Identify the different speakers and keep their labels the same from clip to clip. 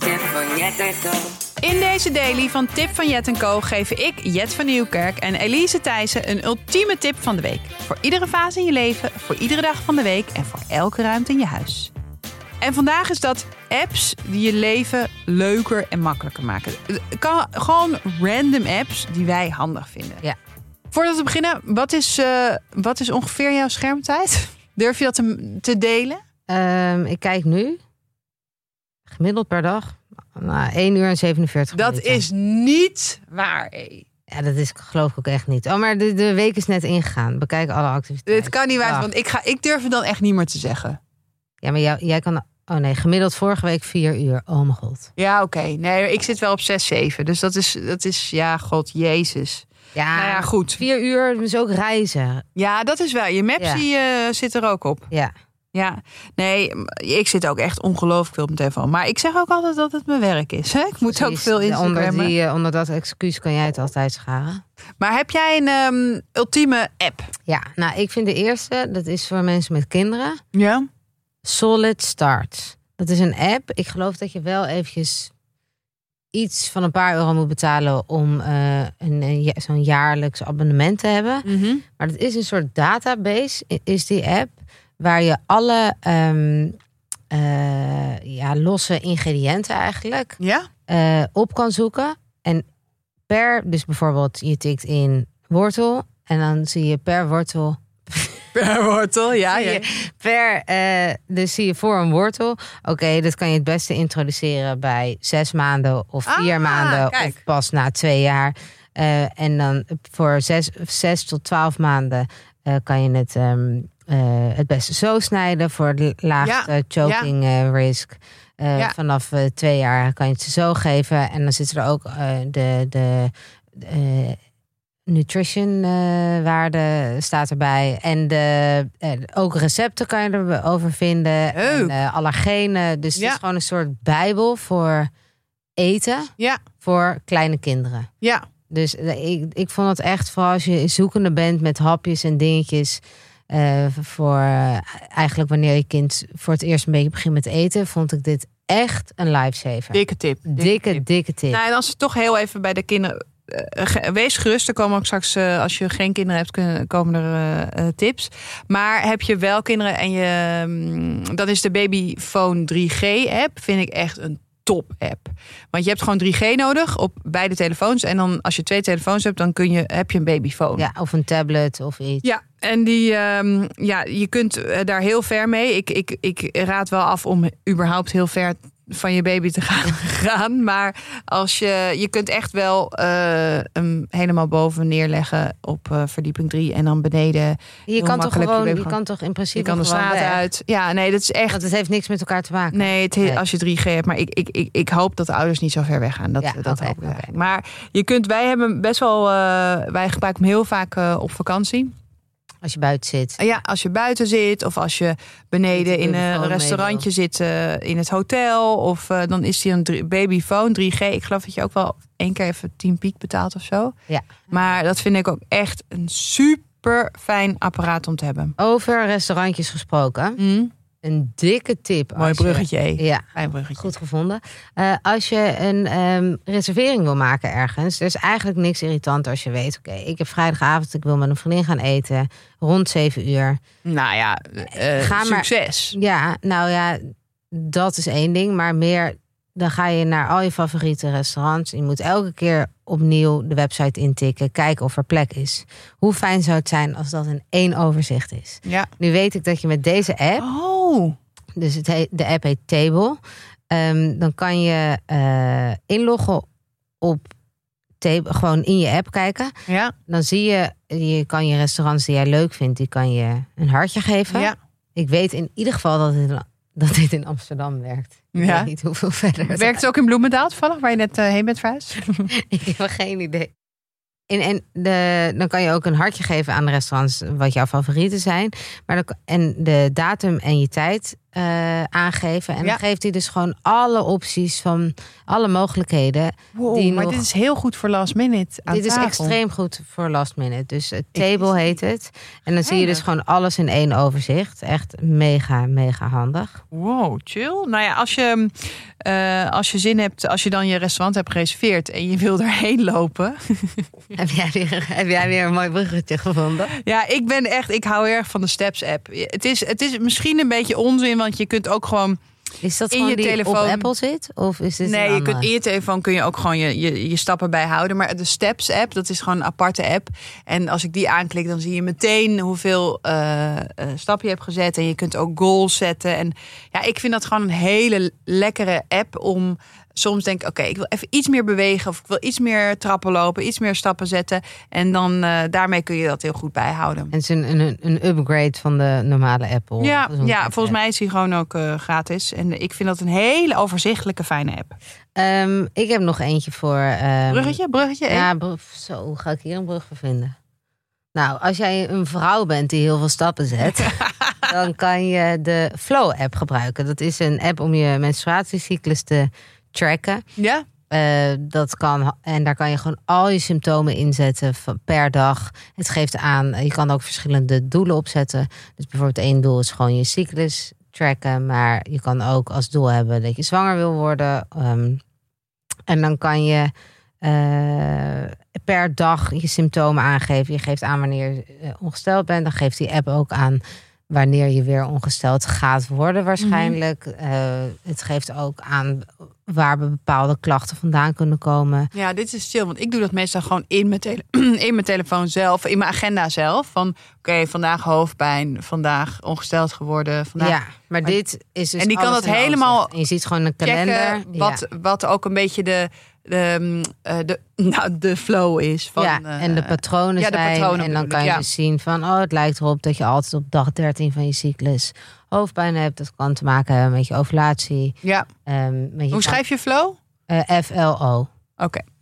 Speaker 1: van Jet en Co.
Speaker 2: In deze daily van Tip van Jet en Co geven ik, Jet van Nieuwkerk en Elise Thijssen een ultieme tip van de week. Voor iedere fase in je leven, voor iedere dag van de week en voor elke ruimte in je huis. En vandaag is dat apps die je leven leuker en makkelijker maken. Het Kan, gewoon random apps die wij handig vinden.
Speaker 3: Ja.
Speaker 2: Voordat we beginnen, wat is, eh, wat is ongeveer jouw schermtijd? Durf je dat te, te delen?
Speaker 3: Ehm, ik kijk nu. Gemiddeld per dag. Nou, 1 uur en 47
Speaker 2: Dat
Speaker 3: minuten.
Speaker 2: is niet waar, hé.
Speaker 3: Ja, dat is geloof ik ook echt niet. Oh, maar de, de week is net ingegaan. Bekijk alle activiteiten.
Speaker 2: Dit kan niet waar zijn,
Speaker 3: Dag.
Speaker 2: want ik, ga, ik durf het dan echt niet meer te zeggen.
Speaker 3: Ja, maar jou- jij kan... Oh nee, gemiddeld vorige week 4 uur. Oh mijn god.
Speaker 2: Ja, oké. Nee, ik zit wel op 6, 7. Dus dat is, dat is ja, god, jezus.
Speaker 3: Ja,
Speaker 2: Nou ja, goed.
Speaker 3: 4 uur dus ook reizen.
Speaker 2: Ja, dat is wel. Je Mapsy eh, zit er ook op.
Speaker 3: Ja.
Speaker 2: Ja. Nee, m- ik zit ook echt ongelooflijk veel op mijn telefoon. Maar ik zeg ook altijd dat het mijn werk is. Hè? Ik moet ook
Speaker 3: precies.
Speaker 2: veel
Speaker 3: onder,
Speaker 2: Instagrammen.
Speaker 3: Dus die, eh, onder dat excuus kan jij het altijd scharen.
Speaker 2: Maar heb jij een ehm, ultieme app?
Speaker 3: Ja, nou, ik vind de eerste, dat is voor mensen met kinderen.
Speaker 2: Ja.
Speaker 3: Solid Start. Dat is een app. Ik geloof dat je wel eventjes iets van een paar euro moet betalen om eh, een, een ja- zo'n jaarlijks abonnement te hebben.
Speaker 2: Mhm.
Speaker 3: Maar het is een soort database, i- is die app, waar je alle ehm, eh, ja, losse ingrediënten eigenlijk
Speaker 2: Ja?
Speaker 3: eh, op kan zoeken. En per, dus bijvoorbeeld je tikt in wortel en dan zie je per wortel
Speaker 2: Per wortel, Oh, ja.
Speaker 3: zie
Speaker 2: ja.
Speaker 3: je per, eh, dus zie je voor een wortel. Oké, dat kan je het beste introduceren bij zes maanden of
Speaker 2: Ah,
Speaker 3: vier maanden
Speaker 2: kijk.
Speaker 3: of pas na twee jaar. Eh, en dan voor zes, zes tot twaalf maanden eh, kan je het ehm, eh, het beste zo snijden voor de laagste choking eh, risk. Eh,
Speaker 2: Ja.
Speaker 3: Vanaf eh, twee jaar kan je het ze zo geven. En dan zitten er ook eh, de, de, eh, nutrition eh, waarde staat erbij. En de, eh, ook recepten kan je erover vinden.
Speaker 2: Leuk.
Speaker 3: En eh, allergenen. Dus
Speaker 2: Ja.
Speaker 3: het is gewoon een soort bijbel voor eten
Speaker 2: Ja.
Speaker 3: voor kleine kinderen.
Speaker 2: Ja.
Speaker 3: Dus eh, ik, ik vond het echt, vooral als je zoekende bent met hapjes en dingetjes. eh, voor eh, eigenlijk wanneer je kind voor het eerst een beetje begint met eten, vond ik dit echt een lifesaver.
Speaker 2: Dikke tip.
Speaker 3: dikke, dikke tip.
Speaker 2: Nou, en als we toch heel even bij de kinderen. eh, ge- Wees gerust, er komen ook straks, eh, als je geen kinderen hebt, kun- komen er eh, eh, tips. Maar heb je wel kinderen en je. mm, dat is de Babyphone 3G-app. Vind ik echt een top-app. Want je hebt gewoon 3G nodig op beide telefoons. En dan als je twee telefoons hebt, dan kun je, heb je een babyfoon.
Speaker 3: ja, of een tablet of iets.
Speaker 2: Ja, en die, ehm, ja, je kunt eh, daar heel ver mee. Ik, ik, ik raad wel af om überhaupt heel ver van je baby te gaan. gaan. Maar als je, je kunt echt wel eh, hem helemaal boven neerleggen op eh, verdieping 3 en dan beneden.
Speaker 3: Je kan toch
Speaker 2: makkelijk je
Speaker 3: gewoon, je,
Speaker 2: baby gewoon-
Speaker 3: kan toch in principe
Speaker 2: Je kan de
Speaker 3: gewoon
Speaker 2: straat
Speaker 3: weg?
Speaker 2: uit. Ja, nee, dat is echt.
Speaker 3: Want het heeft niks met elkaar te maken.
Speaker 2: Nee, het,
Speaker 3: Nee.
Speaker 2: als je 3G hebt. Maar ik, ik, ik, ik hoop dat de ouders niet zo ver weggaan. Dat,
Speaker 3: Ja,
Speaker 2: dat
Speaker 3: oké,
Speaker 2: hoop ik
Speaker 3: oké.
Speaker 2: eigenlijk. Maar je kunt, wij hebben best wel, eh, wij gebruiken hem heel vaak eh, op vakantie.
Speaker 3: Als je buiten zit.
Speaker 2: Ja, als je buiten zit of als je beneden
Speaker 3: Niet de
Speaker 2: in een
Speaker 3: telefoon
Speaker 2: restaurantje zit eh, in het hotel. Of eh, dan is die een drie- babyfoon 3G. Ik geloof dat je ook wel één keer even 10 piek betaalt of zo.
Speaker 3: Ja.
Speaker 2: Maar dat vind ik ook echt een super fijn apparaat om te hebben.
Speaker 3: Over restaurantjes gesproken.
Speaker 2: Mm.
Speaker 3: Een dikke tip.
Speaker 2: Mooi
Speaker 3: als je-
Speaker 2: bruggetje. hè?
Speaker 3: Ja,
Speaker 2: Fijn bruggetje.
Speaker 3: goed gevonden. Eh, als je een ehm, reservering wil maken ergens. Er is eigenlijk niks irritant als je weet. Oké, ik heb vrijdagavond. Ik wil met een vriendin gaan eten. Rond 7 uur.
Speaker 2: Nou ja, eh,
Speaker 3: Ga maar-
Speaker 2: succes.
Speaker 3: Ja, nou ja. Dat is één ding. Maar meer... Dan ga je naar al je favoriete restaurants. Je moet elke keer opnieuw de website intikken. Kijken of er plek is. Hoe fijn zou het zijn als dat in één overzicht is?
Speaker 2: Ja.
Speaker 3: Nu weet ik dat je met deze app,
Speaker 2: Oh,
Speaker 3: dus het heet, de app heet Table, ehm, dan kan je eh, inloggen op Table, gewoon in je app kijken.
Speaker 2: ja.
Speaker 3: Dan zie je, je kan je restaurants die jij leuk vindt, die kan je een hartje geven.
Speaker 2: ja.
Speaker 3: Ik weet in ieder geval dat dit, dat dit in Amsterdam werkt. Ik
Speaker 2: Ja.
Speaker 3: weet niet hoeveel verder. het-
Speaker 2: Werkt het ook in Bloemendaal toevallig, waar je net eh, heen bent verhuisd?
Speaker 3: Ik heb geen idee. En, en de, dan kan je ook een hartje geven aan de restaurants wat jouw favorieten zijn. Maar dan, en de datum en je tijd eh, aangeven. En
Speaker 2: Ja.
Speaker 3: dan geeft hij dus gewoon alle opties van alle mogelijkheden.
Speaker 2: Wow,
Speaker 3: Die
Speaker 2: maar
Speaker 3: nog-
Speaker 2: dit is heel goed voor last minute aan
Speaker 3: Dit is
Speaker 2: tafel.
Speaker 3: extreem goed voor last minute. Dus het
Speaker 2: wist
Speaker 3: table
Speaker 2: het
Speaker 3: heet het. En dan zie je dus
Speaker 2: Geinig.
Speaker 3: gewoon alles in één overzicht. Echt mega, mega handig.
Speaker 2: Wow, chill. Nou ja, als je, eh, als je zin hebt, als je dan je restaurant hebt gereserveerd en je wil daarheen lopen.
Speaker 3: heb, jij weer, heb jij weer een mooi bruggetje gevonden?
Speaker 2: Ja, ik ben echt, ik hou erg van de Steps app. Het is, het is misschien een beetje onzin, want je kunt ook gewoon.
Speaker 3: Is dat
Speaker 2: In
Speaker 3: gewoon
Speaker 2: je
Speaker 3: die op
Speaker 2: telefoon.
Speaker 3: Apple zit? Of is dit
Speaker 2: nee,
Speaker 3: een
Speaker 2: je kunt,
Speaker 3: andere?
Speaker 2: in je telefoon kun je ook gewoon je, je, je stappen bijhouden. Maar de Steps app, dat is gewoon een aparte app. En als ik die aanklik, dan zie je meteen hoeveel eh, eh, stappen je hebt gezet. En je kunt ook goals zetten. En ja, ik vind dat gewoon een hele lekkere app om. Soms denk ik, oké, ik wil even iets meer bewegen. Of ik wil iets meer trappen lopen, iets meer stappen zetten. En dan eh, daarmee kun je dat heel goed bijhouden.
Speaker 3: En het is een, een, een upgrade van de normale Apple.
Speaker 2: Ja,
Speaker 3: gezondheid
Speaker 2: ja,
Speaker 3: app.
Speaker 2: volgens mij is die gewoon ook eh, gratis. En ik vind dat een hele overzichtelijke, fijne app.
Speaker 3: Ehm, ik heb nog eentje voor. ehm,
Speaker 2: Bruggetje, bruggetje. één.
Speaker 3: Ja, br- zo hoe ga ik hier een brug voor vinden. Nou, als jij een vrouw bent die heel veel stappen zet, dan kan je de Flow-app gebruiken. Dat is een app om je menstruatiecyclus te tracken.
Speaker 2: ja?
Speaker 3: Eh, dat kan, en daar kan je gewoon al je symptomen inzetten van- per dag. Het geeft aan, eh, je kan ook verschillende doelen opzetten. Dus bijvoorbeeld één doel is gewoon je cyclus tracken. Maar je kan ook als doel hebben dat je zwanger wil worden. ehm, en dan kan je eh, per dag je symptomen aangeven. Je geeft aan wanneer je eh, ongesteld bent. Dan geeft die app ook aan wanneer je weer ongesteld gaat worden waarschijnlijk. Eh, het geeft ook aan waar bepaalde klachten vandaan kunnen komen.
Speaker 2: Ja, dit is chill. Want ik doe dat meestal gewoon in mijn, tele- in mijn telefoon zelf, in mijn agenda zelf. Van oké, vandaag hoofdpijn, vandaag ongesteld geworden. Vandaag
Speaker 3: ja, maar dit is dus
Speaker 2: Nou, En die kan
Speaker 3: alles
Speaker 2: dat
Speaker 3: in een
Speaker 2: helemaal
Speaker 3: overzicht. En je ziet gewoon een kalender.
Speaker 2: checken wat, wat ook een beetje de, de, mm, eh, de, nou, de flow is.
Speaker 3: ja.
Speaker 2: Van,
Speaker 3: ja,
Speaker 2: eh,
Speaker 3: en de patronen
Speaker 2: ja, de
Speaker 3: zijn.
Speaker 2: patronen
Speaker 3: en dan
Speaker 2: bedoel
Speaker 3: kan
Speaker 2: ik,
Speaker 3: je
Speaker 2: ja.
Speaker 3: dus zien van... oh, het lijkt erop dat je altijd op dag 13 van je cyclus hoofdpijn hebt. Dat kan te maken hebben met je ovulatie.
Speaker 2: ja.
Speaker 3: ehm, met je
Speaker 2: Hoe schrijf je flow? Oké,
Speaker 3: kan- eh, FLO.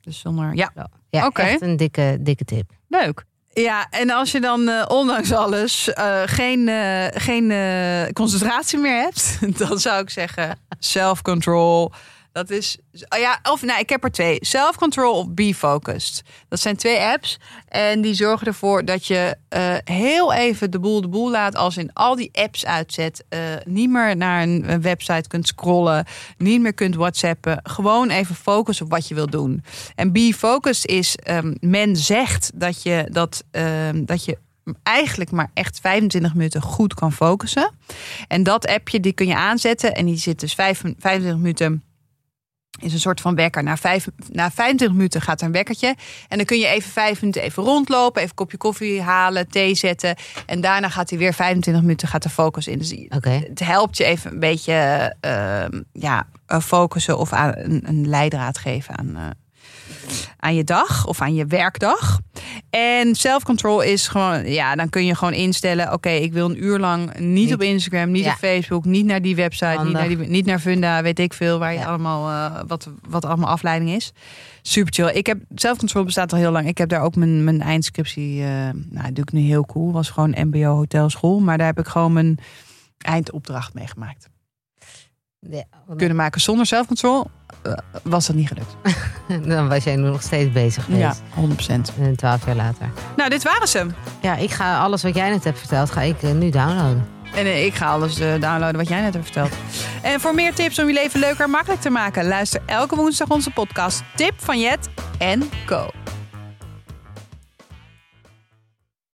Speaker 2: dus zonder... Ja,
Speaker 3: Ja,
Speaker 2: Oké.
Speaker 3: echt een dikke, dikke tip.
Speaker 2: Leuk. Ja, en als je dan eh, ondanks alles eh, geen, eh, geen eh, concentratie meer hebt, dan zou ik zeggen self-control. Dat is, oh ja, of nou, ik heb er twee. Self-control of be focused. Dat zijn twee apps en die zorgen ervoor dat je eh, heel even de boel de boel laat als in al die apps uitzet. eh, niet meer naar een, een website kunt scrollen, niet meer kunt whatsappen. Gewoon even focussen op wat je wilt doen. En be focused is, ehm, men zegt dat je, dat, ehm, dat je eigenlijk maar echt 25 minuten goed kan focussen. En dat appje, die kun je aanzetten en die zit dus vijf- 25 minuten... Is een soort van wekker. Na, vijf, na 25 minuten gaat er een wekkertje. En dan kun je even vijf minuten even rondlopen. Even een kopje koffie halen, thee zetten. En daarna gaat hij weer 25 minuten gaat de focus in. Dus
Speaker 3: Oké.
Speaker 2: het helpt je even een beetje ehm, ja, eh, focussen of aan een, een leidraad geven aan, eh, aan je dag of aan je werkdag. En self-control is gewoon, ja, dan kun je gewoon instellen: oké, ik wil een uur lang niet,
Speaker 3: Niet-
Speaker 2: op Instagram, niet
Speaker 3: Ja.
Speaker 2: op Facebook, niet naar die website, niet
Speaker 3: Handig.
Speaker 2: naar, die, niet naar Funda, weet ik veel, waar je
Speaker 3: Ja.
Speaker 2: allemaal, eh, wat, wat allemaal afleiding is. Super chill. Ik heb zelfcontrole bestaat al heel lang. Ik heb daar ook mijn, mijn eindscriptie. eh nou, doe ik nu heel cool. Was gewoon MBO hotelschool. Maar daar heb ik gewoon mijn eindopdracht mee gemaakt.
Speaker 3: Ja,
Speaker 2: Kunnen maken zonder zelfcontrole eh, was dat niet gelukt.
Speaker 3: Dan was jij nu nog steeds bezig
Speaker 2: Ja,
Speaker 3: geweest.
Speaker 2: 100%.
Speaker 3: En Twaalf jaar later.
Speaker 2: Nou, dit waren ze. En
Speaker 3: Ja, ik ga alles wat jij net hebt verteld, ga ik eh, nu downloaden.
Speaker 2: eh, ik ga alles eh, downloaden wat jij net hebt verteld. En voor meer tips om je leven leuker en makkelijk te maken, luister elke woensdag onze podcast Tip van Jet en Co.